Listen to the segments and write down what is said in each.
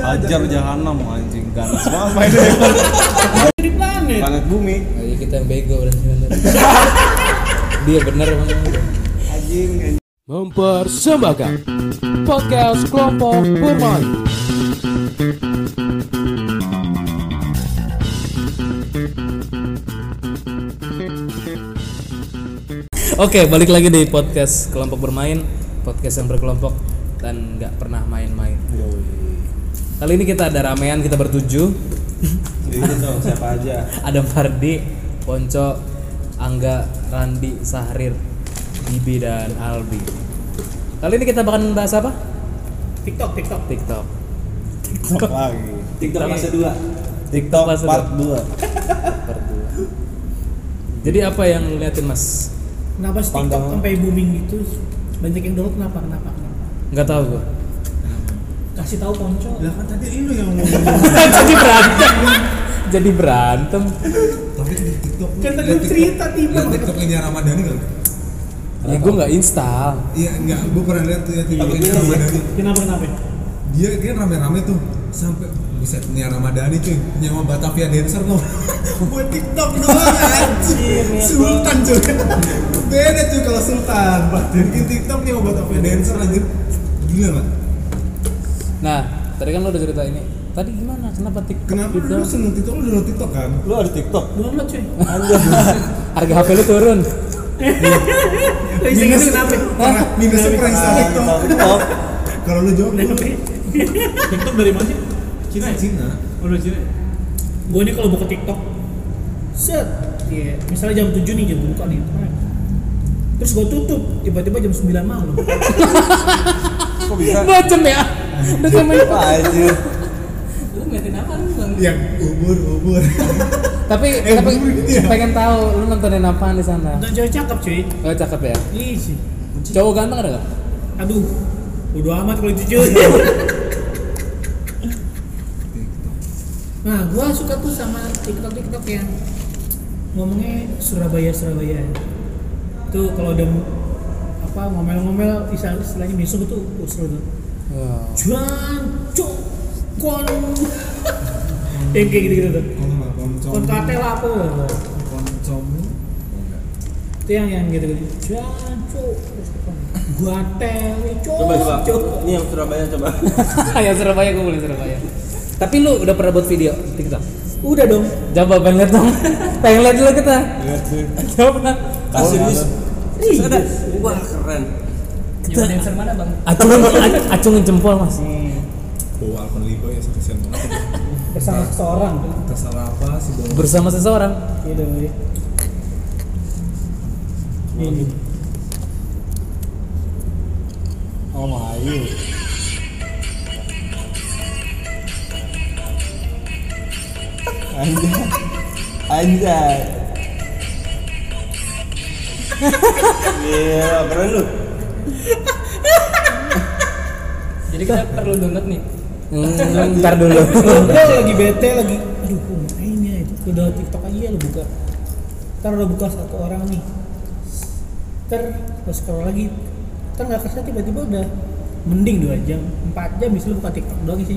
Hajar jahanam anjing ganas banget mainnya. Di planet. Planet bumi. Lagi kita yang bego berarti bener. Dia bener emang. Anjing. anjing. Mempersembahkan podcast kelompok bermain. Oke, balik lagi di podcast kelompok bermain, podcast yang berkelompok dan nggak pernah main-main. Kali ini kita ada ramean, kita bertujuh. Jadi dong siapa aja. ada Fardi, Ponco, Angga, Randi, Sahrir, Bibi dan Albi. Kali ini kita bakal bahas apa? TikTok, TikTok. TikTok. TikTok lagi. TikTok masa dua. TikTok Pas part 2. Berdua. Jadi apa yang lu liatin Mas? Kenapa sih TikTok Pandangan. sampai booming gitu? Banyak yang download kenapa? Kenapa? Kenapa? Nggak tahu gua. Kasih tahu Ponco. Lah kan tadi lu yang ngomong. Jadi berantem. Jadi berantem. Tapi di TikTok lu Kan tadi liat lu cerita tiba. liat TikTok ini Ramadhani kan? Ya gua nggak install. Iya, enggak, gua pernah lihat tuh ya Tapi TikToknya dia Ramadhani. Kenapa? Kenapa? Dia dia rame-rame tuh sampai bisa Nia Ramadhani cuy nyawa Batavia dancer tuh buat TikTok doang anjir Sultan cuy beda cuy kalau Sultan bikin TikTok nyawa Batavia dancer anjir gila nggak Nah, tadi kan lu udah cerita ini. Tadi gimana? Kenapa TikTok? kenapa itu? lu seneng TikTok lu download TikTok kan Lu ada TikTok. Download cuy. Harga HP lu turun. Tapi saya ngerti kenapa. Parah, minusnya pernah install TikTok Ah, TikTok. kalau lu jawab lu Kenapa? TikTok dari mana sih? Cina ya? Cina Udah Cina. Gue ini kalau buka TikTok, set, iya, misalnya jam 7 nih jam buka nih, terus gue tutup, tiba-tiba jam 9 malam. Kok bisa? Macem ya. Udah kayak main Wah, Anjir. Lu ngeliatin apa lu bang? yang ubur-ubur Tapi, Eh, tapi gurih dia. pengen tahu lu nontonin apaan di sana. Nonton cewek cakep cuy, Oh cakep ya. iya sih. Cowok ganteng ada gak? Aduh, bodo amat kalau itu cuy. nah, gua suka tuh sama TikTok TikTok yang ngomongnya Surabaya Surabaya. Tuh kalau udah apa ngomel-ngomel istilah- istilahnya besok tuh usul tuh. Jancuk kon. yang kayak gitu-gitu tuh. kalau nggak koncong Kon kate lapo. koncong Oh, enggak. Itu yang yang gitu-gitu. Jancuk. Gua tewi cuk. Coba coba. cuk. Ini yang Surabaya coba. ya Surabaya gue boleh Surabaya. Tapi lu udah pernah buat video TikTok? Udah dong. Coba pengen lihat dong. pengen lihat dulu kita. lihat deh Coba. Ah, serius. Serius ada. Wah, keren. Jawa dancer mana bang? Acungin, ac- acungin jempol mas. Eh, bawa alkon libo ya kesian banget Bersama seseorang. terserah apa sih bawa Bersama seseorang. Iya dong. iya. Ini. Oh, ayo. Anjay. Anjay. Iya, keren lu. Jadi kita perlu download nih. Hmm, ntar dulu. Lo lagi bete lagi. Aduh, kok mainnya itu. Udah TikTok aja lo buka. Ntar lo buka satu orang nih. Ntar lo scroll lagi. Ntar nggak kerasa tiba-tiba udah mending dua jam, empat jam bisa lo buka TikTok doang sih.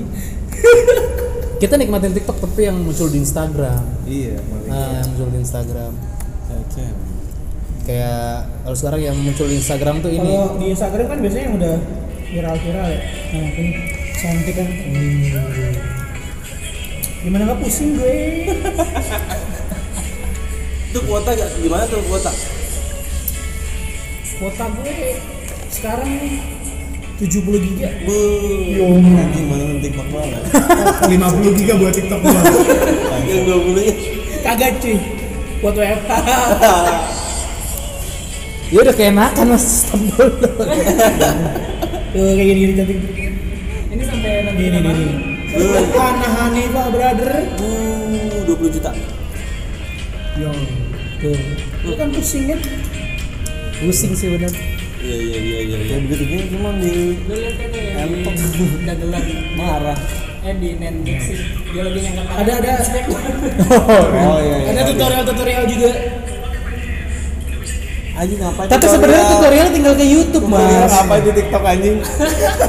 kita nikmatin TikTok tapi yang muncul di Instagram. Iya, maling. Nah, yang muncul di Instagram. Cewek. Kayak kalau sekarang yang muncul di Instagram tuh ini. Kalau di Instagram kan biasanya yang udah viral-viral ya. Nah, ini cantik kan. Gimana nggak pusing gue? Itu kuota gak? Gimana tuh kuota? Kuota gue sekarang nih 70 giga. Bu. Yo, anjing mana TikTok banget. 50 giga buat tiktok gua Yang 20 nya. Kagak cuy. Buat WFH. Ya udah keenakan mas. Stop dulu. Tuh kayak gini gini cantik. Ini sampai nanti ini ini. Hana Hanifah nah, brother. Bu, 20 juta. Yo. Tuh. Itu kan pusing kan? Pusing sih bener. Iya, iya, iya, iya. iya. Kayak begitu gini cuma di kan ya, Entok. marah. Eh, Ada ada Oh iya. iya. ada tutorial tutorial juga. anjing ngapain Tapi sebenarnya tutorial tinggal ke YouTube tutorial mas. ngapain di TikTok anjing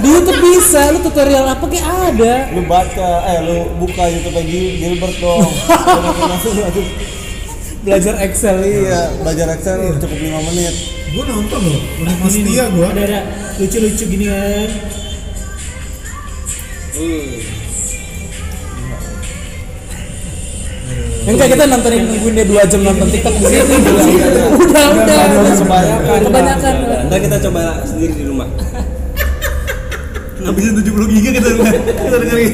Di YouTube bisa, lu tutorial apa kayak ada. lu baca eh lu buka YouTube lagi Gilbert dong Langsung- langsung langsung Belajar Excel iya belajar Excel cukup 5 menit Gue nonton loh, Ini udah nih, pasti ya gue. Ada ada lucu-lucu gini kan. Iya. Enggak kita nontonin nungguin dia 2 jam nonton TikTok di sini. Udah, udah. Jangan kebanyakan. Kebanyakan. Ntar kita coba sendiri di rumah. Habisin 70 giga kita kita dengerin.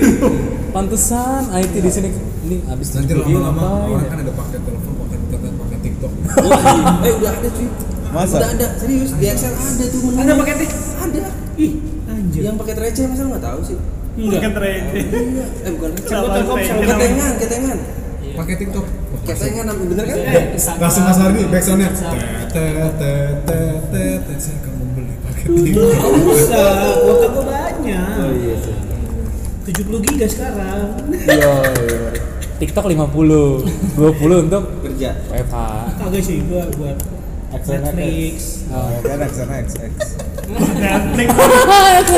Pantesan IT di sini ini habis 70 Nanti gig lama-lama ngapain orang ya? kan ada pakai telepon, pakai internet, pakai TikTok. eh udah ada cuy. Masa? Udah ada serius di Excel ada tuh. Ada paketnya? Ada. Ih, anjir. Yang pakai receh masa lu nggak tahu sih? Enggak. Iya. Eh bukan receh. Coba Telkom selalu kata Ketengan, ketengan. Pakai TikTok. Ketengan apa bener kan? Langsung Mas Ardi backsoundnya. Tetetetetetet saya akan membeli pakai TikTok. Nggak usah, kuota gua banyak. Oh iya sih. 70 giga sekarang. Iya, iya. TikTok 50, 20 untuk Kerja. WFH. Kagak sih gua buat Excel Netflix Netflix. Oh, kan Excel Netflix Excel,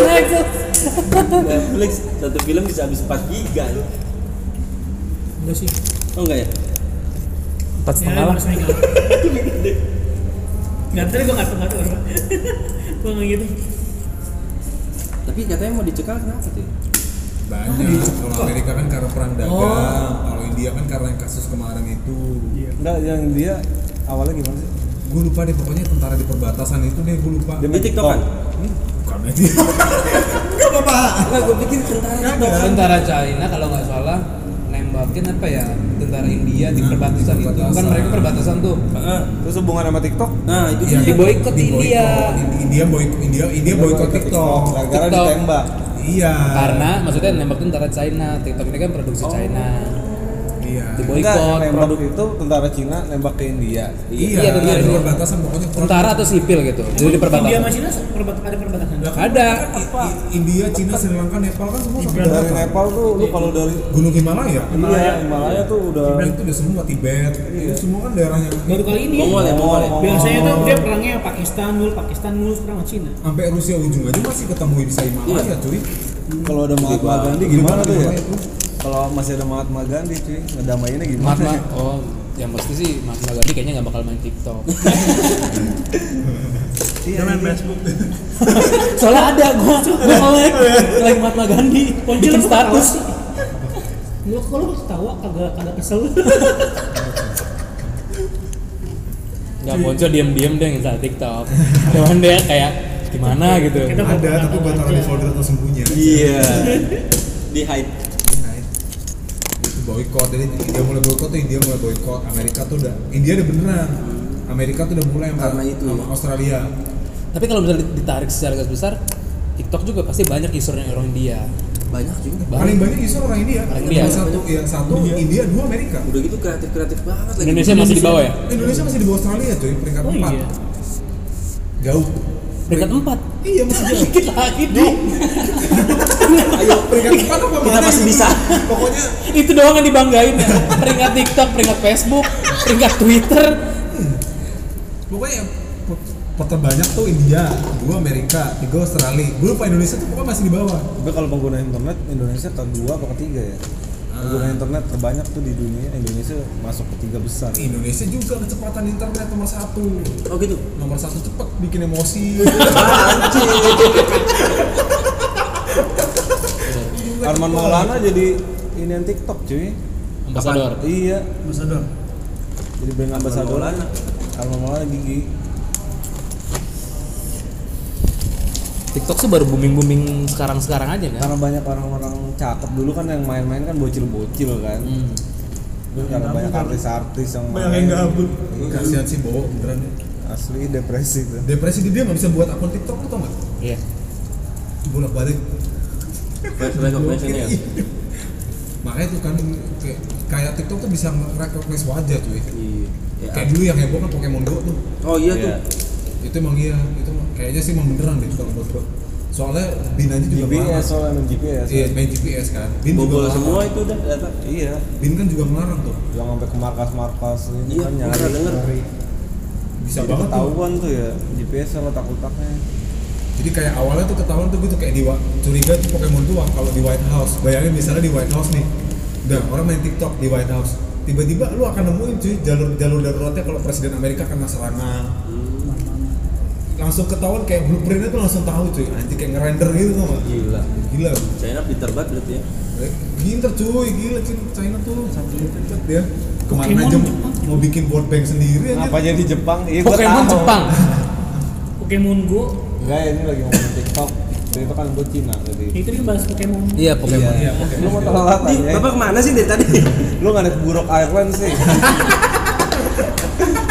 Excel. Netflix satu film bisa habis 4 giga lu. Enggak sih. Oh enggak ya? Empat setengah lah. Mas Mega. Nggak, tadi gua nggak tahu, nggak tahu. Gua nggak gitu. Tapi katanya mau dicekal kenapa tuh? Banyak. Kalau Amerika kan karena perang dagang, Oh. kalau India kan karena yang kasus kemarin itu. enggak yang dia awalnya gimana sih Gue lupa deh pokoknya tentara di perbatasan itu deh gue lupa. Di TikTok kan? Bukan aja. Enggak apa-apa. Enggak, gue pikir tentara TikTok. Tentara China kalau nggak salah nembakin apa ya tentara India di perbatasan itu kan mereka perbatasan tuh Heeh. terus hubungan sama TikTok Nah, itu Iya. dia. diboikot Di India boykot. India boykot India India boykot TikTok. gara-gara TikTok. ditembak Iya. karena maksudnya nembakin tentara China TikTok ini kan produksi China Iya. Enggak, yang diboikot nembak produk itu tentara Cina nembak ke India iya, Iya, tentara di India. perbatasan pokoknya tentara atau sipil gitu jadi di India sama perbatasan Cina perbat- ada perbatasan. ada I- India, Cina, Sri Lanka, Nepal kan semua sama dari perbatasan. Nepal tuh lu kalau Iya. dari Gunung Himalaya. Himalaya Himalaya tuh udah Tibet itu udah semua Tibet. Itu semua kan daerah yang Baru kali ini. Mongol ya, Mongol ya. Biasanya tuh dia perangnya Pakistan mulu, Pakistan mulu perang sama Cina. sampai Rusia ujung aja masih ketemu bisa Himalaya, ya, cuy. kalau ada Mahatma Gandhi gimana tuh ya kalau masih ada Mahatma Gandhi cuy ngedamainnya gimana Mahatma oh yang pasti sih Mahatma Gandhi kayaknya nggak bakal main TikTok Iya, iya. soalnya ada gua gua like like Mahatma Gandhi Poncil bikin status Lu kalau lu ketawa kagak kagak kesel. nggak muncul diem-diem deh install TikTok cuman dia kayak gimana gitu Kita Ada tapi buat buat taruh di folder atau sembunyi. aja. Iya. Di hide. Nah, itu. Itu boykot. Jadi India mulai boykot tuh India mulai boykot. Amerika tuh udah India udah beneran. Amerika tuh udah mulai sama- Karena itu sama ya. Australia. tapi kalau misalnya ditarik secara garis besar TikTok juga pasti banyak usernya orang India Banyak juga. Paling banyak isu orang India. Orang India. Satu, ya, satu Iya. India, dua Amerika. Udah gitu kreatif-kreatif banget lagi. Indonesia masih di bawah ya Indonesia masih di bawah Australia cuy, peringkat Oh, empat iya. Jauh. peringkat empat Iya masih jauh. dikit lagi dong Ayo peringkat empat apa Kita mana masih gitu? bisa. Pokoknya itu doang yang dibanggain ya peringkat TikTok peringkat Facebook peringkat Twitter pokoknya yang pe- terbanyak tuh India, dua Amerika, tiga Australia. Gue lupa Indonesia tuh pokoknya masih di bawah. Tapi kalau pengguna internet Indonesia kedua atau ketiga ya. Pengguna Ah. internet terbanyak tuh di dunia Indonesia masuk ketiga besar. Iya, Indonesia juga kecepatan internet nomor satu. Oh gitu. Nomor satu cepet bikin emosi. Arman Maulana jadi ini yang TikTok cuy. ambasador Iya, Ambasador. jadi brand ambassador. Maulana. Arman Maulana gigi. TikTok sih baru booming booming sekarang sekarang aja Ya. kan Karena banyak orang-orang cakep dulu kan yang main-main kan bocil-bocil kan. hmm. Terus karena banyak artis-artis yang Iya. Banyak yang gabut. Kasihan sih bawa beneran. ya. Asli depresi tuh. Depresi di dia nggak bisa buat akun TikTok lu tau nggak? iya Bolak balik. Flash recognition ya. Makanya tuh kan kayak, kayak TikTok tuh bisa recognize wajah cuy. Iya. Kayak dulu yang heboh kan Pokemon Go tuh. Oh iya tuh. Iya. itu emang iya itu emang- kayaknya sih emang beneran deh kalau menurut gua soalnya bin aja juga GPS melarang Iya. soalnya main GPS. iya main GPS kan bin Bobol juga semua melarang itu udah data. Iya. bin kan juga melarang tuh Jangan sampai ke markas-markas ini Iya, kan pernah nyari. denger. bisa Jadi banget tuh. ketahuan tuh ya GPS sama takut-takutnya Jadi kayak awalnya tuh ketahuan tuh gitu kayak di Wa- curiga tuh Pokemon tuh kalau di White House. Bayangin misalnya di White House nih. Udah orang main TikTok di White House. Tiba-tiba lu akan nemuin cuy jalur-jalur daruratnya kalau presiden Amerika kena serangan. Langsung ketahuan kayak blueprintnya tuh langsung tahu cuy. Anjir kayak ngerender gitu tuh. Gila. Gila. China pinter banget berarti ya. Pinter cuy, gila cuy. China tuh satelit dia. Kemarin Pokemon aja Jepang. mau bikin board bank sendiri Apa anjir. jadi Jepang? Iya gua Pokemon tahu. Jepang. Pokemon Go Enggak ya, ini lagi ngomongin TikTok. Jadi itu kan gue Cina tadi. itu dia bahas Pokemon Iya Pokemon. Iya, Lu mau tahu apa Di, ya? bapak kemana sih dari tadi? Lu nggak ada buruk Ireland sih.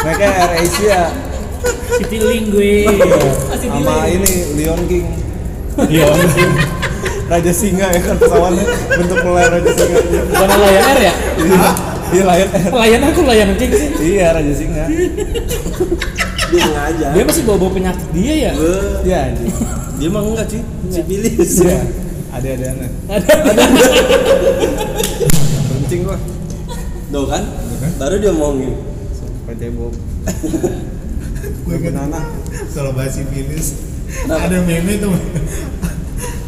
Mereka Air Asia City Link Ah, gue Masih sama delay. ini Lion King. Iya. Lion King. Raja Singa ya kan pesawatnya bentuk mulai Raja Singa. Bukan Lion Air ya? Iya, Iya, Lion Air. Lion aku Lion King sih. Iya, Raja Singa. Dia aja. Dia masih bawa-bawa penyakit dia ya. Be- Iya, anjing. Dia mah enggak cuy, sipilis. Iya. Ada-ada aneh. Kencing gua. Tuh kan? Baru dia ngomongin. Pecebok. Gue Gue kan banana. Soal bahasa sipilis Kenapa? Ada meme tuh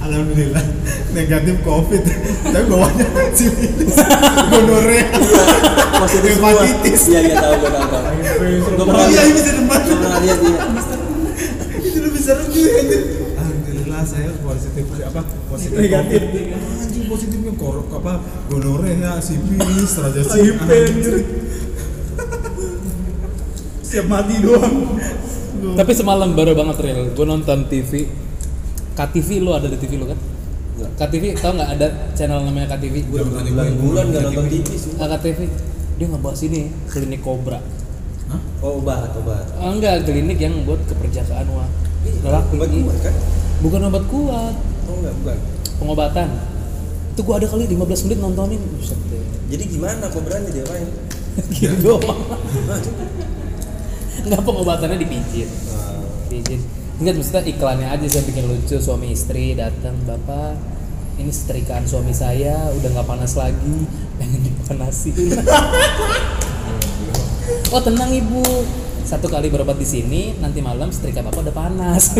Alhamdulillah negatif covid Tapi bawahnya sipilis Gonore Positif semua. Hepatitis. Iya, iya tahu gua tahu. tahu. Gua Oh pernah iya ini lihat. bisa debat Gua pernah lihat iya. Itu lebih serem juga anjir. Alhamdulillah saya positif apa positif Negatif. COVID. Anjing positifnya korok apa gonore ya sipilis raja sipilis Siap mati doang Tapi semalam baru banget real. Gue nonton TV. KTV lu ada di TV lu kan? Enggak. KTV tau nggak ada channel namanya KTV? Gua udah bulan-bulan enggak nonton TV sih. Ah, KTV dia ngebahas ini klinik kobra. Oh, obat, obat. Ah, enggak klinik yang buat keperjakaan wah. Galak, Obat ini. kuat kan? Bukan obat kuat, Oh enggak, bukan. pengobatan. Itu gua ada kali 15 menit nontonin. Buset deh. Jadi gimana kobranya dia main? Iya. gitu doang nggak pengobatannya dipijit Ah. pijit ingat maksudnya iklannya aja sih yang bikin lucu suami istri datang bapak ini setrikaan suami saya udah nggak panas lagi pengen dipanasin oh tenang ibu satu kali berobat di sini nanti malam setrika bapak udah panas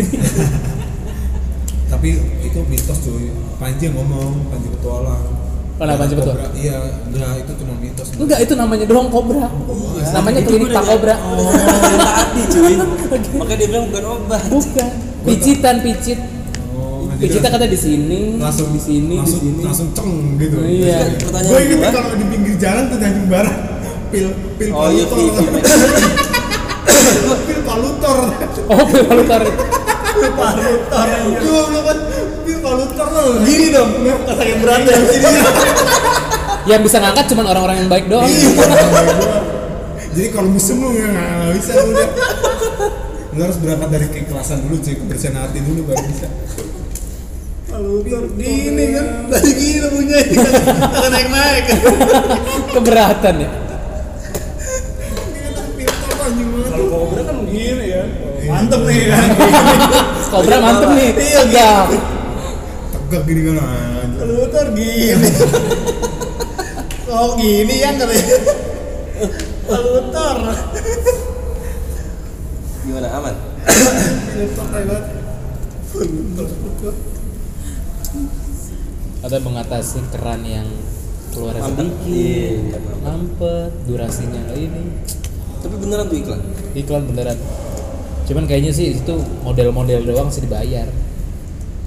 tapi itu mitos cuy Panji yang ngomong Panji petualang Oh, nah, Panji Kobra. iya enggak itu cuma mitos enggak itu namanya doang kobra Iya. namanya Itu gua klinik tak udah- kobra Oh, udah taati cuy. Makanya dia bilang bukan obat. bukan pijitan picit oh, Panji pijitnya udah kata di sini langsung di sini di langsung, sini langsung ceng gitu Oh, Terus iya. kan pertanyaan gue inget gua, kalau di pinggir jalan tuh Tanjung Barat pil pil Oh iya, palutor pil- pil- pil palutor Oh, lalu tarik. pil palutor gue bilang kan pil palutor Iya. loh iya. Gini dong, kata yang berat ya. Yang bisa ngangkat cuman orang-orang yang baik doang. Iya. jadi kalau musim lu nggak nggak bisa lu udah lu harus berangkat dari keikhlasan dulu cuy kebersihan hati dulu baru bisa palutor Gini kan, tadi gini punya. Akan naik-naik. Keberatan ya. Kalau kobra kan begini iya. ya, mantep nih kan. Kobra mantep nih. Iya, Tegak. Tegak gini kan. Lutar gini. Oh gini ya katanya. Lutar. Gimana aman? Atau mengatasi keran yang keluar Iya, sedikit. iya, iya. Mampet, durasinya nggak ini. Tapi beneran tuh iklan. Iklan beneran. Cuman kayaknya sih itu model-model doang sih dibayar.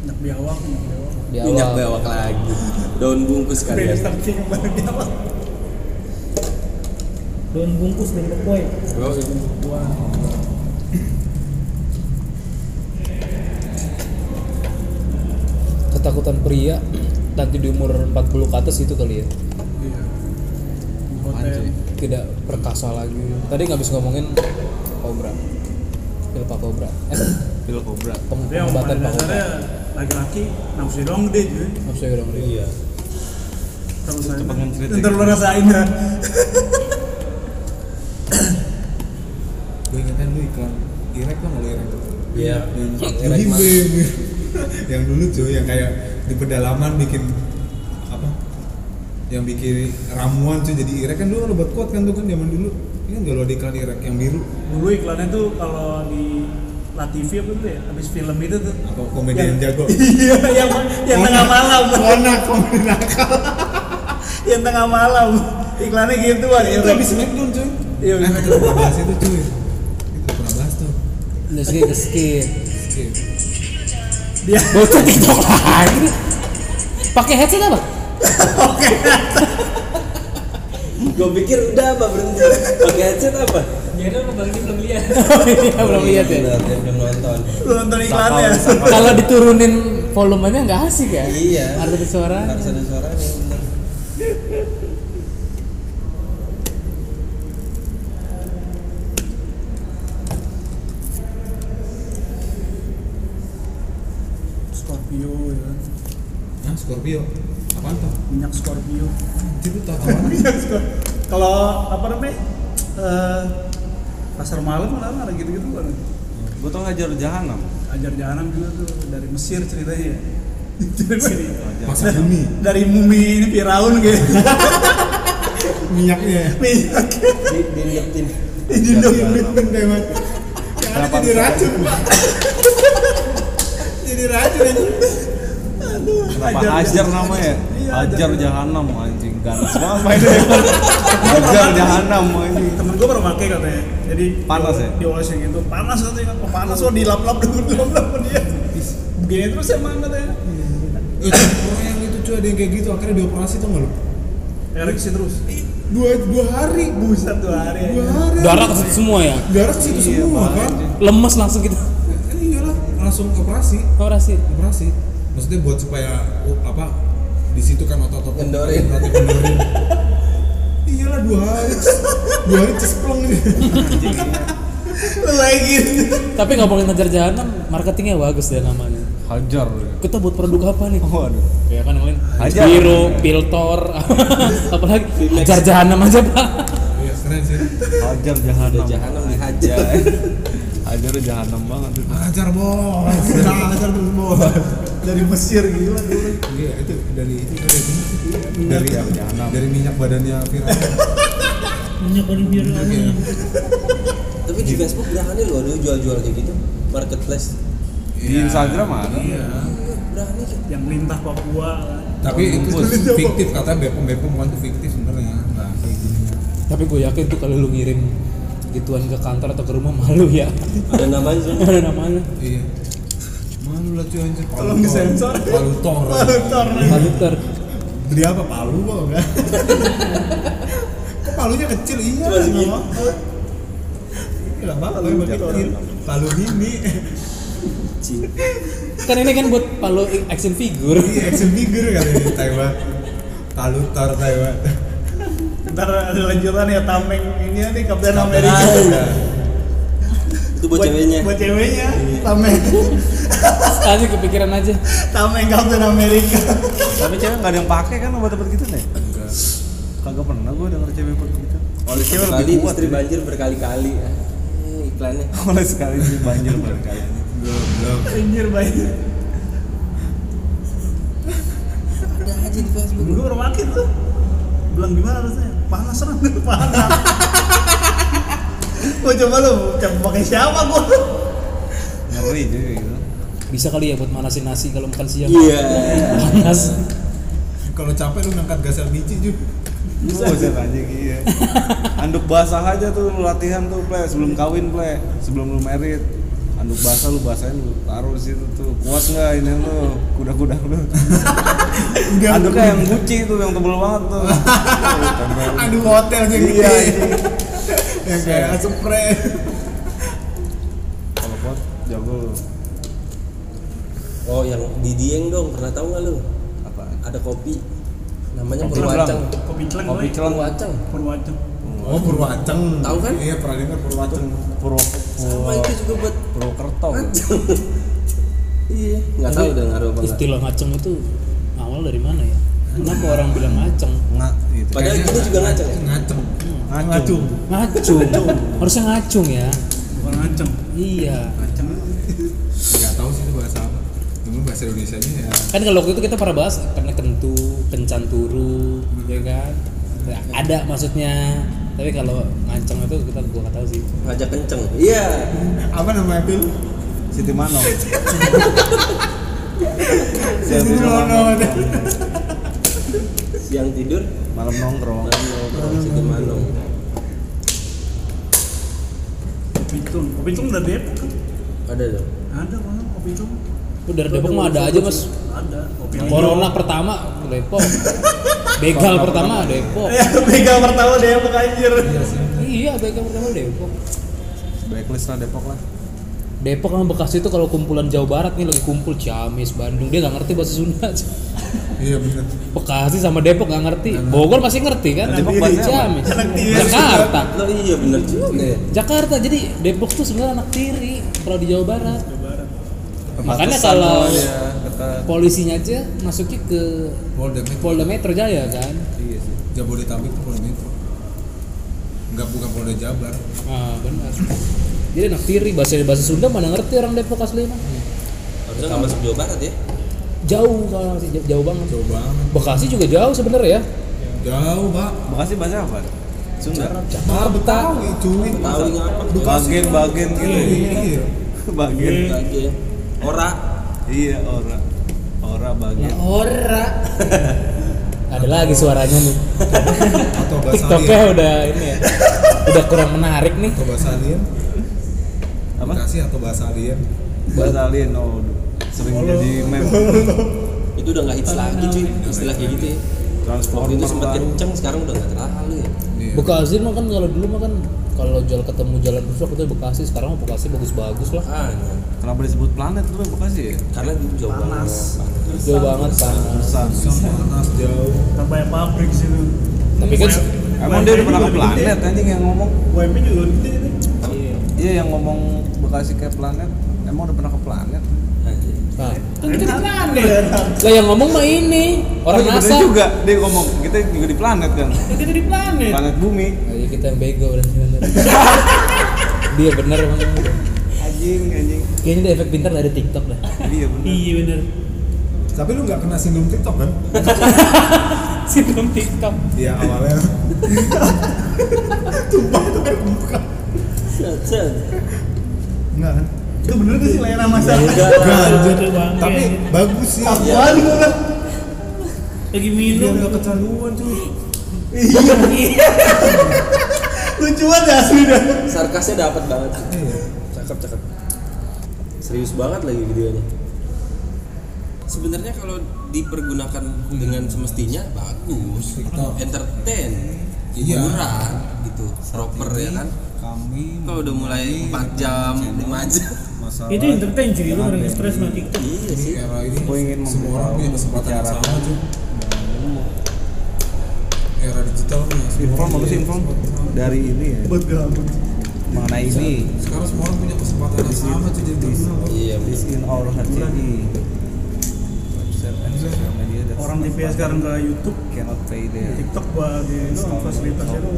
Nak biawak nak biawak Di Minyak awal. bewak lagi. Daun bungkus ya. Beda Iya. kalian. saking yang baru biawak daun bungkus dari Pokoi Ketakutan pria nanti di umur 40 ke atas itu kali ya. Iya. Tidak perkasa lagi. Tadi nggak bisa ngomongin kobra. Pilpa kobra. Eh, Pil kobra. peng- Tapi yang pengobatan pada Pak Kobra. dasarnya lagi-laki nafsu doang gede cuy Maaf saya dong. Iya. Kalau saya pengen cerita ntar gitu. lu rasain ya Gue ingetin lu iklan irek kan lu irek. Iya. Jadi gue yang dulu cuy yang kayak di pedalaman bikin apa? Yang bikin ramuan cuy jadi irek kan dulu lu buat kuat kan tuh kan zaman dulu. Ini nggak lo ada iklan Irek yang biru? dulu iklannya tuh kalau di La TV apa tuh ya habis film itu tuh Atau komedian Yang- jago? iya yang yang tengah malam Konak komedi nakal. yang tengah malam iklannya gitu kan ya Itu habis Smackdown cuy. Iya, Nah, kita pernah bahas itu cuy. Kita pernah bahas tuh. Terus gue skip. Skip. dia Bocah TikTok lagi. Pakai headset apa? Gue pikir udah apa berhenti. Pakai headset apa? Ya udah bang ini belum lihat. Iya belum lihat ya. Belum, dia belum nonton. lu nonton iklannya Kalau diturunin volumenya nggak asik ya? Iya. Harus ada suara. Harus ada suaranya. bener. Scorpio ya kan Nah, Scorpio. Apaan tuh? minyak Scorpio Anjir lu tau apaan? kalau apa namanya eh, pasar malam lah ada gitu-gitu kan Gue tau ngajar jahanam. ajar jahanam juga tuh dari Mesir ceritanya ya Dari Mesir. Masa bumi. dari mumi ini Firaun gitu Minyaknya. ya? minyak Di diingetin. Ini dong komitmen memang. Yang ada jadi racun, Pak. Jadi racun anjing. Kenapa Ajar ajar jahanam. namanya? Iya, Ajar ajar jahanam anjing ganas banget mainnya. Ajar jahanam anjing. temen gue pernah pakai katanya jadi Panas ya? diolesin gitu panas katanya oh, panas oh dilap-lap dulu dilap-lap sama dia gini terus emang katanya Eh, orang yang itu cuy ada yang kayak gitu akhirnya dioperasi tuh nggak lu? ereksi terus Dua dua hari, buset. satu hari Dua aja. hari. Darah ke semua ya. Darah ke situ semua kan? Lemes langsung gitu. kita. Kan iyalah langsung operasi, Orasi. operasi. Maksudnya buat supaya oh, apa di situ kan otot-otot Kendorin. berarti kendorin. Iyalah dua hari, dua hari cesplong ini. Lu lagi Tapi nggak boleh ngejar jahanam. Marketingnya bagus deh namanya. Hajar. ya. Kita buat produk apa nih? Waduh. Ya kan yang lain. Hajar. Biru, piltor, apalagi hajar jahanam aja pak. Iya keren sih. Hajar jahanam. Udah jahanam dihajar. Hajar jahanam banget itu. Ajar Nah, bos, ajar terus bos. dari Mesir gila gila. Iya itu dari itu dari Iya, dari Iya. dari minyak badannya viral. minyak olive biar Iya. Tapi di Facebook berani loh ada jual-jual kayak gitu. Marketplace. Di Instagram ada. Berani. yang lintah Papua kan. Tapi itu tuh fiktif katanya Bepom Bepom kan itu fiktif sebenarnya nggak kayak gini. Tapi gue yakin tuh kalau lu ngirim gituan ke kantor atau ke rumah malu ya. Ada namanya semua. Ada namanya. Iya. Malu lah cuy anjir. palu Tolong Iya. tor. disensor. Palu tor. Tor. Haluter. Beli apa palu kok enggak? Kok palunya kecil iya. Cuma segini. Enggak apa-apa palu yang kecil. Palu mini. Cing. Kan ini kan buat palu action figure. Iya action figure katanya di Taiwan. Palu tor Taiwan. ntar ada lanjutan ya tameng ini nih Kapten Nah, Ah, Amerika iya. Itu buat ceweknya. buat ceweknya Iya. tameng Tadi kepikiran aja. tameng Kapten Amerika Tapi cewek nggak ada yang pakai kan obat-obat gitu nih? Enggak. Kagak pernah gue denger cewek pakai gitu. Oleh Cewek lebih sekali kuat, istri ya. banjir berkali-kali. Eh, Iklannya. Oleh sekali sih banjir berkali. Goblok. anjir banjir Ada aja di Facebook. gue pernah pakai tuh bilang gimana rasanya panas serang panas Gua coba lu coba pakai siapa gua Ngeri juga gitu. Bisa kali ya buat manasin nasi kalau makan siang. Iya. Panas. Kalau capek lu ngangkat gasel biji juga. Bisa aja aja iya. Anduk basah aja tuh lu latihan tuh play sebelum kawin play, sebelum lu merit. Anduk basah lu basahin lu taruh di situ tuh. Kuat nggak ini lu kuda-kuda lu. Anduknya yang guci tuh yang tebel banget tuh. Oh, Tuh, tempelin. Aduh hotel aja gitu. Iya, iya. Yang kayak spray. Kalau kuat jago lu. Oh, yang di Dieng dong. Pernah tahu nggak lu? Apa? Ada kopi. Namanya Kopi Purwacang. kopi celeng Kopi woy. celeng. Purwacang. Purwacang Oh Purwaceng. Tahu kan? Iya pernah dengar Purwaceng. Purwo Oh. Sama itu juga buat Purwokerto. Aceng. Iya, nggak tahu udah ngaruh apa nggak. Istilah ngaceng itu awal dari mana ya? Kenapa orang bilang ngaceng? Nggak gitu. Padahal Kayaknya itu juga ngaceng ya? Ngaceng. Ngacung. Ngacung. Harusnya ngacung ya. bukan ngaceng Iya. ngaceng Enggak tahu sih itu bahasa apa. Cuma bahasa Indonesia nya ya. Kan kalau waktu itu kita pernah bahas karena kentu, kencan turu, ya kan? Ya, ada maksudnya tapi kalau nganceng itu kita gua nggak tahu sih ngajak kenceng iya apa namanya pil Siti Mano sisi Nono siang tidur malam nongkrong malam ngobrol Siti Manong Kopitung, Kopitung udah Depok kan? ada dong Ada mana Kopitung? lu dari Depok mah ada aja mas Ada, Kopitung. Corona pertama Depok Begal pertama Depok Begal Iya, pertama Depok anjir. Iya begal pertama Depok blacklist lah Depok lah Depok sama Bekasi itu kalau kumpulan Jawa Barat nih lagi kumpul Ciamis, Bandung dia nggak ngerti bahasa Sunda. iya bener Bekasi sama Depok nggak ngerti. Bogor pasti ngerti kan? Depok Depok bahasa bahasanya Ciamis. Anak tiri. Jakarta. lo iya bener juga ya Jakarta jadi Depok tuh sebenarnya anak tiri kalau di Jawa Barat. Perbatasan Makanya kalau soalnya, iya, dekat polisinya aja masuknya ke Polda Metro Polda Metro Jaya kan. iya sih Jabodetabek tuh Polda Metro nggak bukan Polda Jabar Nah, benar. Jadi anak tiri bahasa bahasa Sunda mana ngerti orang Depok asli mah. harusnya nggak masuk Jawa Barat ya Jauh kalau masih jauh, jauh banget. jauh banget Bekasi juga jauh sebenarnya ya. jauh pak Bekasi bahasa apa? ya, Sunda Ah, Betawi cuy tahu ngapa bagian-bagian gitu Iya. bagian lagi ya ora iya ora ora bagian Ora. Ada lagi suaranya nih. atau bahasa TikToknya Alien udah ini ya. Udah kurang menarik nih. atau bahasa Alien Iya. apa? Bekasi atau bahasa Alien bahasa alien oh aduh. sering jadi meme itu udah nggak hits lagi cuy istilah kayak gitu ya waktu transformer itu sempat lah. kenceng sekarang udah nggak terlalu ya Iya. Bekasi mah kan kalau dulu mah kan kalau jual ketemu jalan busuk itu Bekasi sekarang mah Bekasi bagus-bagus lah. ah iya. kenapa disebut planet dulu Bekasi ya? karena di Jawa Barat Jauh banget panas. Pesan. Susah, panas jauh Terbanyak pabrik sih lu. Tapi kan Iya. Emang dia udah pernah ke planet anjing yang ngomong UMP juga gede nih. Iya yang ngomong Bekasi kayak planet Emang udah pernah ke planet? Anjir. Nah, Kan kita di planet. lah yang ngomong mah ini orang Oh, iya, bener NASA. juga, dia ngomong, kita juga di planet kan Kita di planet. Planet bumi Ayo Ah, iya, kita yang bego berarti bener. Dia bener emang. Anjing, anjing Kayaknya dia efek pintar dari TikTok dah. Iya bener Iya bener. tapi lu nggak kena sindrom TikTok kan Sindrom TikTok. iya awalnya Set, set. enggak kan Itu bener tuh sih layanan Ya masyarakat. Enggak Enggak, anjir. Itu bangke. tapi bagus sih Apaan gue bilang? Lagi Dia minum. nggak kecanduan cuy Iya, Lucu banget ya asli dah. sarkasnya dapat banget Iya. cakep cakep serius banget lagi videonya sebenarnya kalau dipergunakan dengan semestinya bagus TikTok. entertain Iya. hiburan gitu proper ya kan Kami kalau udah mulai 4 jam 5 jam masalah Itu entertain cuy, lu orang stres sama TikTok. iya Di sih era ini Aku ingin semua orang punya kesempatan yang memberitahu sama cuy era digital nih Inform bagus sih inform Dari ini ya Buat gabut. Mengenai ini sekarang semua orang punya kesempatan yang sama cuy jadi terkenal Bang. iya This in our HCI Website and social media that Orang TV sekarang ke YouTube, cannot pay there TikTok bagi itu fasilitasnya tuh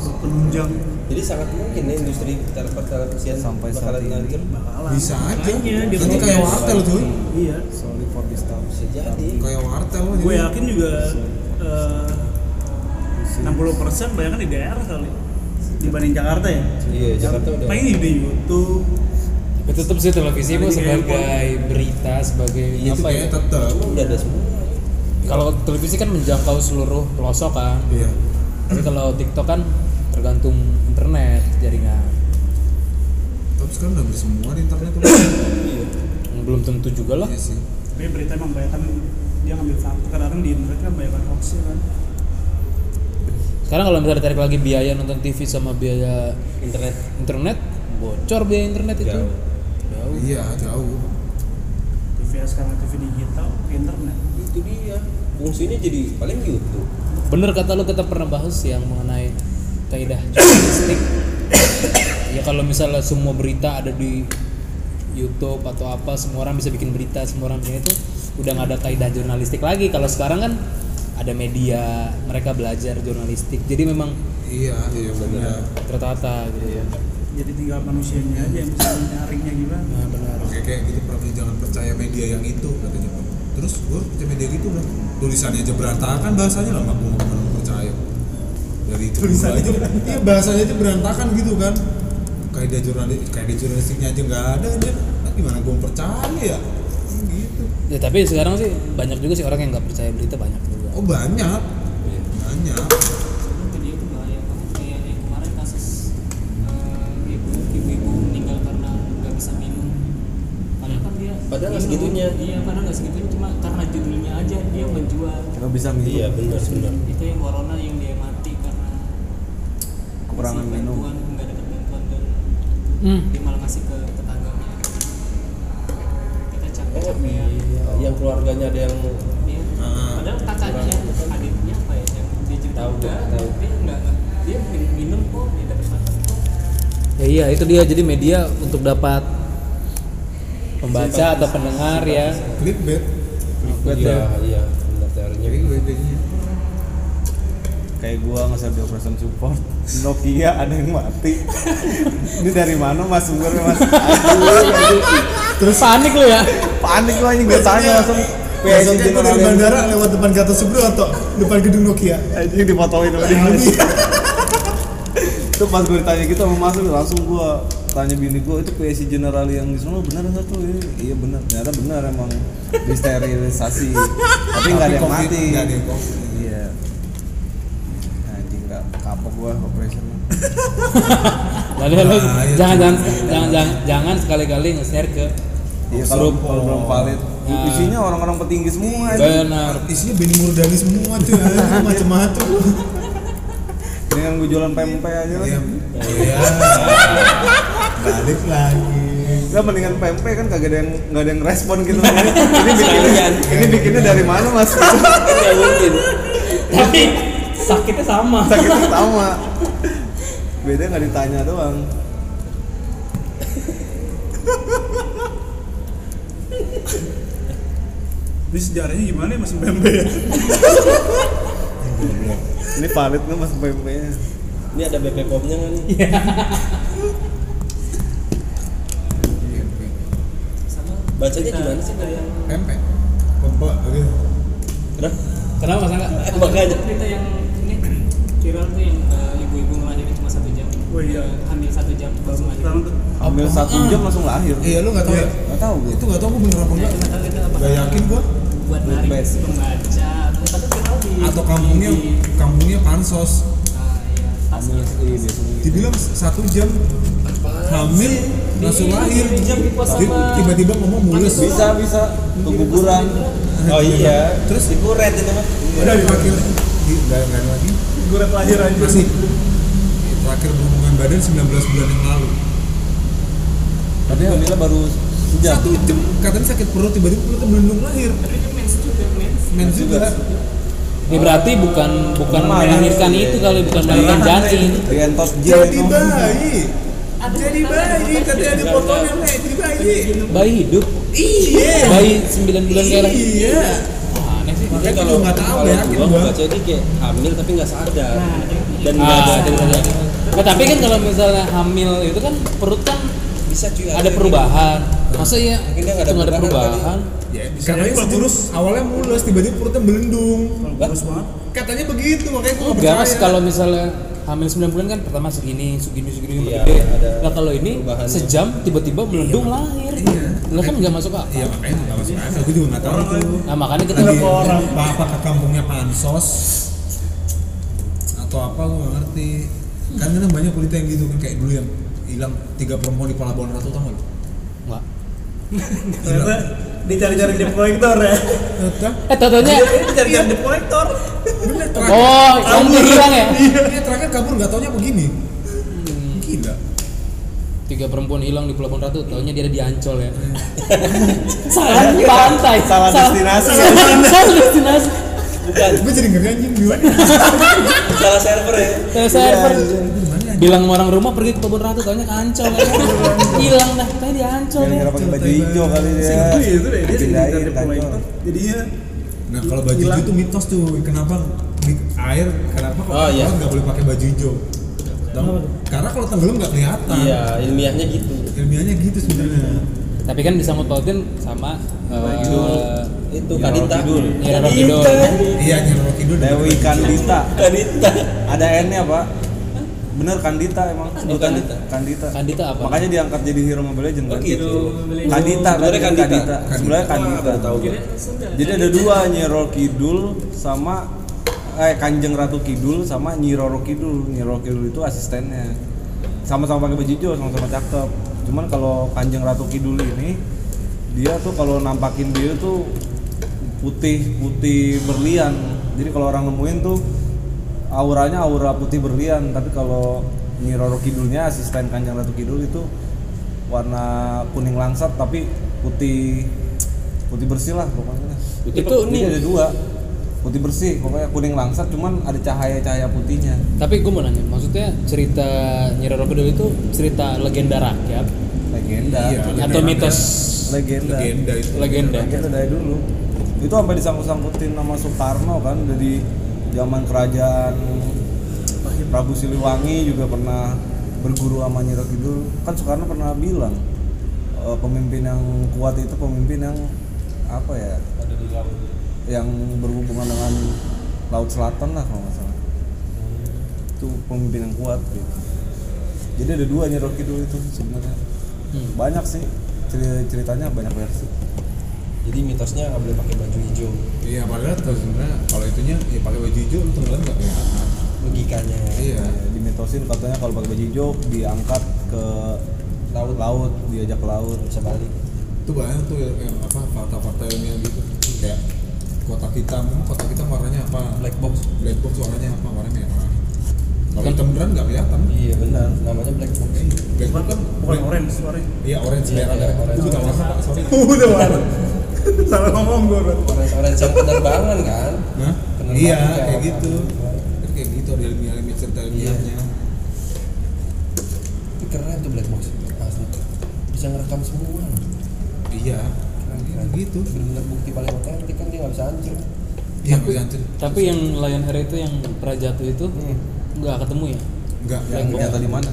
berpenunjang jadi sangat mungkin ya industri telepon televisian Sampai saat bakalan ini. ngancur bakalan. bisa aja Makanya dia nanti kayak protes. wartel cuy Iya. Sorry for this time bisa jadi kayak wartel jadi- Gue yakin juga eh, 60% banyak di daerah kali dibanding Jakarta ya. iya Jakarta udah Paling di YouTube. Itu tetap sih televisi mah sebagai berita, sebagai Iya, itu apa ya? kayak tetep udah ada semua Kalau televisi kan menjangkau seluruh pelosok kan. iya Tapi kalau TikTok kan tergantung internet jaringan. tapi sekarang udah bersemua di internet tuh Belum tentu juga lah. iya sih Tapi berita emang banyak kan dia ngambil satu kadang di internet kan banyak hoaxnya kan. Sekarang kalau misalnya tarik lagi biaya nonton TV sama biaya internet internet, bocor biaya internet itu. Jauh. iya jauh TV sekarang TV digital, internet. itu dia fungsinya jadi paling YouTube Bener kata lu kita pernah bahas yang mengenai kaidah jurnalistik. ya kalau misalnya semua berita ada di YouTube atau apa, semua orang bisa bikin berita, semua orang bikin itu udah nggak ada kaidah jurnalistik lagi. Kalau sekarang kan ada media, mereka belajar jurnalistik. Jadi memang iya iya Ya. benar tertata gitu. Jadi tinggal manusianya aja yang bisa nyaringnya gimana. Nah, benar. Oke kayak gitu berarti jangan percaya media yang itu katanya Pak. terus gue media gitu udah tulisannya aja berantakan bahasanya lah nggak gue nggak pernah percaya dari itu tulisannya aja iya bahasanya aja berantakan gitu kan kayak jurnalis kayak jurnalistiknya aja nggak ada dia Nah, gimana gue percaya ya gitu ya Iya. tapi sekarang sih banyak juga sih orang yang nggak percaya berita banyak juga oh banyak Iya. banyak dia itu bahaya banget kayak yang kemarin kasus eh, ibu ibu-ibu meninggal karena nggak bisa minum padahal kan dia Padahal nggak minum. segitunya. iya padahal nggak segitunya cuma karena judulnya aja dia menjual nggak bisa minum Iya benar benar. itu yang corona yang dia mati karena Kekurangan si minum. bantuan nggak dapat bantuan dan Hmm. dia malah ngasih ke tetangganya kita capek Oh capek ya iya. Yang keluarganya ada yang Iya. Ah. padahal kakaknya adiknya apa ya yang dia cerita Tahu, udah tahu. dia nggak nggak- dia min- minum kok dia dapat bantuan kok ya iya itu dia jadi media untuk dapat pembaca atau pendengar ya clickbait iya iya benar teorinya. jadi gue jadinya kayak gua nggak sadar operation support Nokia ada yang mati ini dari mana mas sumbernya mas terus panik lo ya panik lah ini gua tanya langsung PSI Besoknya gue jenderal dari Andrew. bandara lewat depan Gatot Subroto, depan gedung Nokia. anjing dipotoin sama dia itu pas gue ditanya gitu sama mas langsung gue tanya bini gue itu PSI General yang di sono benar nggak tuh Iya, iya benar ternyata benar emang disterilisasi tapi nggak ada yang Covid, mati nggak ada yang covid. iya anjing nggak kapok gue operation Lalu lo Ah, iya. jangan jangan jangan jangan, jangan sekali-kali nge-share ke iya kalau grup. kalau belum valid Nah. Iya. isinya orang-orang petinggi semua anjing. Benar. Isinya Benny Murdani semua tuh, macam-macam. dengan gue jualan pempek aja lah Iya, iya. Balik lagi. Gak mendingan pempek kan kagak ada yang nggak ada yang respon gitu ini bikinnya ini bikinnya dari mana mas Nggak mungkin. Tapi sakitnya sama. sakit pertama beda nggak ditanya doang Ini sejarahnya gimana ya masih BMB ya? ini valid nggak mas PP nya Ini ada BPOM-nya nggak nih? Iya. sama Bacanya cerita- gimana sih? cerita yang Pempek. Pempek. Oke. Kenapa? Kenapa Mas Angga? Eh, Makanya. cerita yang ini viral tuh yang eh, ibu-ibu ngelahirin cuma satu jam Oh iya. Eh, hamil satu jam langsung Sekarang ngelahirin tuh ambil satu jam langsung lahir Iya, lu nggak tahu ya? nggak tahu gue Itu nggak tahu gue bener apa Saya enggak. nggak tahu itu apa Gak yakin gue. buat Buat narik best. pembaca atau tapi viral di Atau kampungnya, di- kampungnya pansos. ah, iya, tasnya. ambil iya biasanya gitu. Dibilang satu jam hamil langsung Iya, lahir. di jam di pos Tapi sama- Tiba-tiba ngomong mulus. bisa bisa keguguran kan. Oh iya. Terus Dikuret itu mah. udah dipakai lagi. Enggak, enggak ada lagi. gue lahir aja masih eh, terakhir berhubungan badan 19 bulan yang lalu tapi hamilnya baru sejam satu jam katanya sakit perut tiba-tiba perutnya melindung lahir mens juga mens juga Ya berarti bukan bukan Kemarin. ya? melahirkan Iya, itu kali bukan melahirkan janin. Rientos J jadi bayi jadi bayi katanya ada potongan nih jadi bayi Bayi hidup, iya bayi 9 bulan kayak lagi. iya Aneh sih. makanya Kalau kalau nggak tahu kalau ya yakin gua gua baca dia kayak hamil tapi nggak sadar dan nggak Ah, ada jadi- jadi. Nah, tapi kan kalau misalnya hamil itu kan perut kan bisa cuy ada perubahan. Masa iya? gitu. Mungkin dia nggak ada Cuma ada perubahan kan, perubahan. ya, katanya Kalau sejurus awalnya mulus tiba-tiba perutnya melendung Bagus banget katanya begitu makanya gua nggak Enggak mas percaya kalau misalnya hamil 9 bulan kan pertama segini, segini, segini, Iya, segini. ada Nah kalau ini perubahannya. sejam tiba-tiba melendung lahir. Iya. Lah kan nggak masuk iya akal. makanya nggak masuk akal gua juga nggak tahu tuh Nah makanya kita Iya. Tadi orang. Apa ke kampungnya pansos atau apa gue gak ngerti. Kan kadang banyak berita yang gitu kan kayak dulu yang hilang tiga perempuan di Pelabuhan Ratu tau gak lu? Enggak. Ternyata dia cari-cari debt collector ya Iya, Eta, Eh Iya. totonya Dia cari-cari debt collector bener terakhir. Oh, kamu udah hilang ya? Iya terakhir kabur gak taunya begini. Gila. Tiga perempuan hilang di Pelabuhan Ratu, taunya dia ada di Ancol Iya. ya. salah di pantai, salah destinasi. Salah, salah destinasi. bukan Gue jadi nggak ganjil gimana? salah server ya Eh, server. iya, Gimana ya? Bilang sama orang rumah pergi ke Pelabuhan Ratu, taunya ke Ancol ya. Hilang dah, taunya di Iya, Ancol ya. gara pakai baju hijau kali dia Eh, Seingat gue ya itu deh dia Dipindahin, cari-cari debt tanya. collector Jadinya Nah kalau baju Hilang. hijau tuh mitos tuh. Kenapa di air? Kenapa kalau Oh, iya. nggak boleh pakai baju hijau? Tau? Karena kalau tenggelam nggak kelihatan. iya ilmiahnya gitu Ilmiahnya gitu sebenarnya. Tapi kan disangkut pautin sama kan eh, itu Nyi Roro Kadita. Kidul. Nyi Roro Kidul. Iya nyerok kidul Dewi Kandita. Kadita. Ada N-nya, Pak. Bener Kandita emang Kandita. sebutannya Kandita. Kandita apa? Makanya diangkat jadi hero Mobile Legend kan? Oh gitu. Kandita, Sebenarnya tadi kan Kandita. Kandita. Sebenarnya Wah, Kandita. baru tahu gua. Jadi ada dua Nyi Roro Kidul sama eh Kanjeng Ratu Kidul sama Nyi Roro Kidul. Nyi Roro Kidul itu asistennya. Sama-sama pakai baju hijau, sama-sama cakep. Cuman kalau Kanjeng Ratu Kidul ini dia tuh kalau nampakin dia tuh putih putih berlian. Jadi kalau orang nemuin tuh auranya aura putih berlian, tapi kalau Nyi Roro Kidulnya asisten Kanjeng Ratu Kidul itu warna kuning langsat tapi putih putih bersih lah pokoknya Itu ini nih. ada dua putih bersih pokoknya kuning langsat cuman ada cahaya cahaya putihnya Tapi gue mau nanya, maksudnya cerita Nyi Roro Kidul itu cerita legenda rakyat legenda Iya. Legenda atau rakyat. mitos legenda legenda itu legenda? legenda Iya, dari dulu itu sampai disangkut-sangkutin sama Soekarno kan dari zaman kerajaan Prabu Siliwangi juga pernah berguru sama Nyi Roro Kidul kan Soekarno pernah bilang e, pemimpin yang kuat itu pemimpin yang apa ya yang berhubungan dengan laut selatan lah kalau nggak salah itu pemimpin yang kuat gitu jadi ada dua Nyi Roro Kidul itu sebenarnya Hmm. banyak sih ceri- ceritanya banyak versi Jadi mitosnya nggak boleh pakai baju hijau. iya padahal tuh sebenarnya kalau itunya ya pakai baju hijau lu tenggelam nggak Iya. kelihatan Logikanya. iya dimitosin katanya kalau pakai baju hijau diangkat ke laut laut diajak ke laut bisa balik itu banyak tuh yang, yang apa fakta-fakta ilmiah gitu kayak kotak hitam emang kotak hitam warnanya apa Black box. black box warnanya apa warna merah kalau hitam beneran nggak kelihatan Iya benar, namanya black box. black box Bukan, kan bukan black- orange, sorry. iya orange Iya, merah iya, merah orange. itu bukan warna pak sorry Udah warna. Salah ngomong gue, Bro. Orange-orange yang penerbangan kan. Hah? Bener iya banget, kayak kayak gitu apa. kan kayak gitu ada ilmiah ilmiah cerita ilmiahnya Tapi keren tuh black box. Asli. Bisa ngerekam semua. iya Keren-keren. gitu Bener-bener bukti paling otentik kan dia nggak bisa hancur. iya bisa hancur. Tapi yang Lion Hair itu yang Prajatu itu Hmm. nggak ketemu ya? enggak yang Black ternyata box. di mana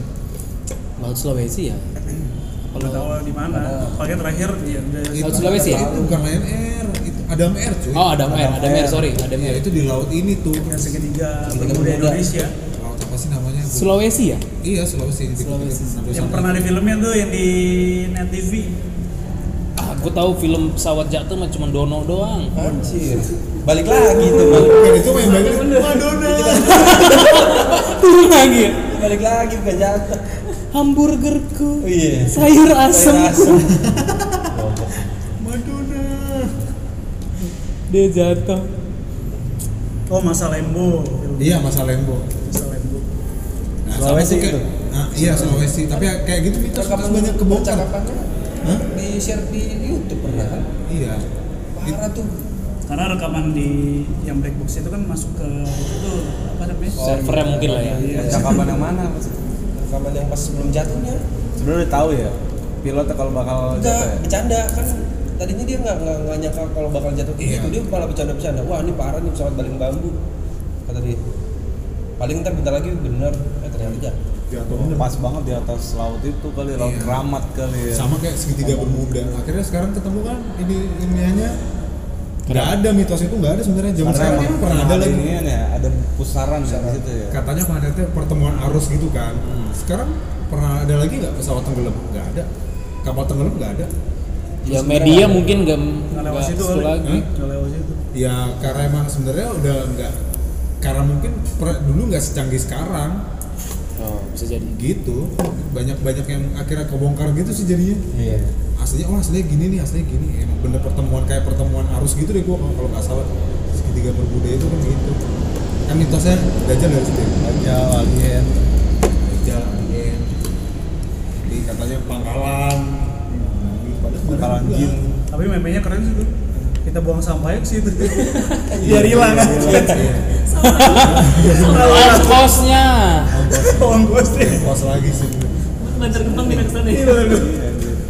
Laut Sulawesi ya? Udah tahu di mana. Pakai terakhir iya udah. Itu- Sulawesi ya? itu bukan Lion Air itu Adam Air cuy Oh Adam Air, Adam Adam Air Air. sorry, Adam Iya, Air. itu di laut ini tuh Yang segitiga Segitiga pemuda pemuda. Indonesia. laut apa sih namanya Bu? Sulawesi ya? Iya Sulawesi. di Sulawesi. Kepulauan Yang Sangat. pernah di filmnya tuh yang di Net TV. Aku tahu film pesawat jatuh mah cuma Dono doang. Anjir. Balik lagi tuh. Bukan itu main balik. Madonna. Turun lagi ya. Balik lagi bukan jatuh. Hamburgerku, Iya. Sayur sayur asemku. asem. Madonna. Dia jatuh. Oh, masa Lembo. Iya masa Lembo. Masa Lembo. Nah, Sulawesi sama tuh kayak- gitu? Nah, iya Sulawesi. Tapi ya kayak gitu mitos Rekaman mitos banyak kebongkar. percakapannya Hah? di share di YouTube pernah kan? Iya. Parah tuh. Karena rekaman di yang black box itu kan masuk ke itu tuh apa namanya? Oh, Servernya iya. mungkin lah ya. Iya. percakapan yang mana maksudnya Rekaman yang pas sebelum jatuhnya. sebenarnya udah tahu ya pilotnya kalau bakal Enggak, jatuh ya bercanda kan tadinya dia nggak nggak nggak nyangka kalau bakal jatuh kayak Iya. gitu dia malah bercanda-bercanda wah ini parah nih pesawat baling bambu kata dia paling ntar bentar lagi bener eh ternyata jatuh Jatuh Oh, pas banget di atas laut itu kali laut Iya. keramat kali ya Sama kayak segitiga bermuda. Akhirnya sekarang ketemu kan ini ilmiahnya. Nggak ada mitos itu nggak ada sebenarnya. Zaman karena sekarang emang emang pernah ada lagi. ini ya ada pusaran ya di situ ya Katanya pernah ada tuh pertemuan arus gitu kan. Sekarang pernah ada lagi nggak pesawat tenggelam? Nggak ada. Kapal tenggelam nggak ada. Ya media mungkin gak, Nggak nggak lewat situ situ kali. Hmm? lagi. Nggak lewat situ. Ya karena emang sebenarnya udah nggak karena mungkin per- dulu nggak secanggih sekarang Oh, bisa jadi. gitu banyak banyak yang akhirnya kebongkar gitu sih jadinya iya aslinya oh aslinya gini nih aslinya gini Ya, emang bener pertemuan kayak pertemuan arus gitu deh gua kalau- kalau nggak salah segitiga bermuda itu kan gitu kan mitosnya dajjal dari situ ya? Dajjal, alien dajjal alien di katanya pangkalan Padahal sebenarnya bakalan enggak. jin Tapi meme-nya keren sih tuh. Kita buang sampahnya ke situ. Iya, Biar hilang Iya, kan. Live cost-nya. Ongkos deh. Kos lagi sih Bantar kembang pindah ke sana ya.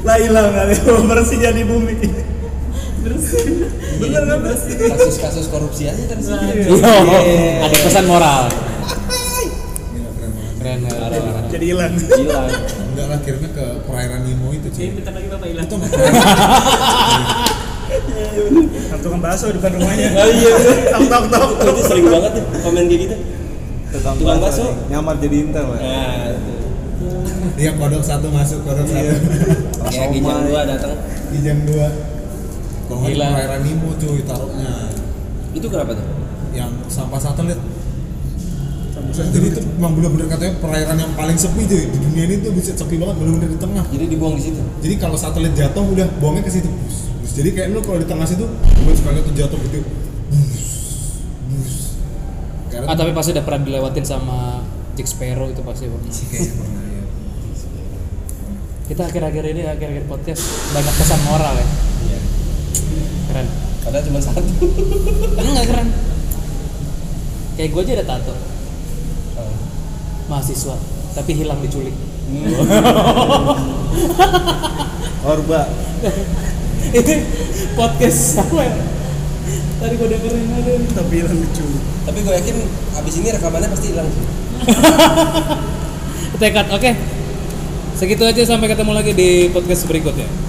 Lah hilang kali. Bersihnya di bumi. Terus Bener kan bersih. kasus-kasus korupsi aja kan sih Yo, ada pesan moral. Gila, Iya, keren banget Keren, keren, keren. Jadi hilang. gila enggak Iya, lah akhirnya ke perairan Nemo itu Jadi cuy bentar lagi Bapak hilang. itu mah perairan Kan tukang bakso depan rumahnya. Oh iya bener. Tok tok tok. Itu tuh sering banget tuh komen kayak gitu. Tukang Tukang bakso. bakso. Nyamar jadi intel ya. Nah, Dia Iya, kodok satu masuk, Iya. kodok satu. itu. kayak kijang dua datang. Di jam 2. Kalau nggak di Gila. perairan Nemo cuy taruhnya. Itu kenapa tuh? Yang sampah satelit. Jadi itu memang bener-bener katanya perairan yang paling sepi cuy di dunia ini tuh bisa sepi banget bener-bener di tengah. Jadi dibuang di situ. Jadi kalau satelit jatuh udah buangnya ke situ. Bus, bus. Jadi kayak lu kalau di tengah situ, gue suka lihat tuh jatuh gitu. Bus, bus. Karena Ah tapi pasti udah pernah dilewatin sama Jack Sparrow itu pasti pernah. kayaknya pernah ya. Kita akhir-akhir ini akhir-akhir podcast banyak pesan moral ya. Iya. Keren. Padahal cuma satu. Enggak keren. Kayak gue aja ada tato Oh. mahasiswa tapi hilang diculik. Hmm. Orba. Ini podcast apa ya? Tadi gue dengerin ada. Tapi hilang lucu. Tapi gue yakin abis ini rekamannya pasti hilang sih. Tekad, oke. Segitu aja sampai ketemu lagi di podcast berikutnya.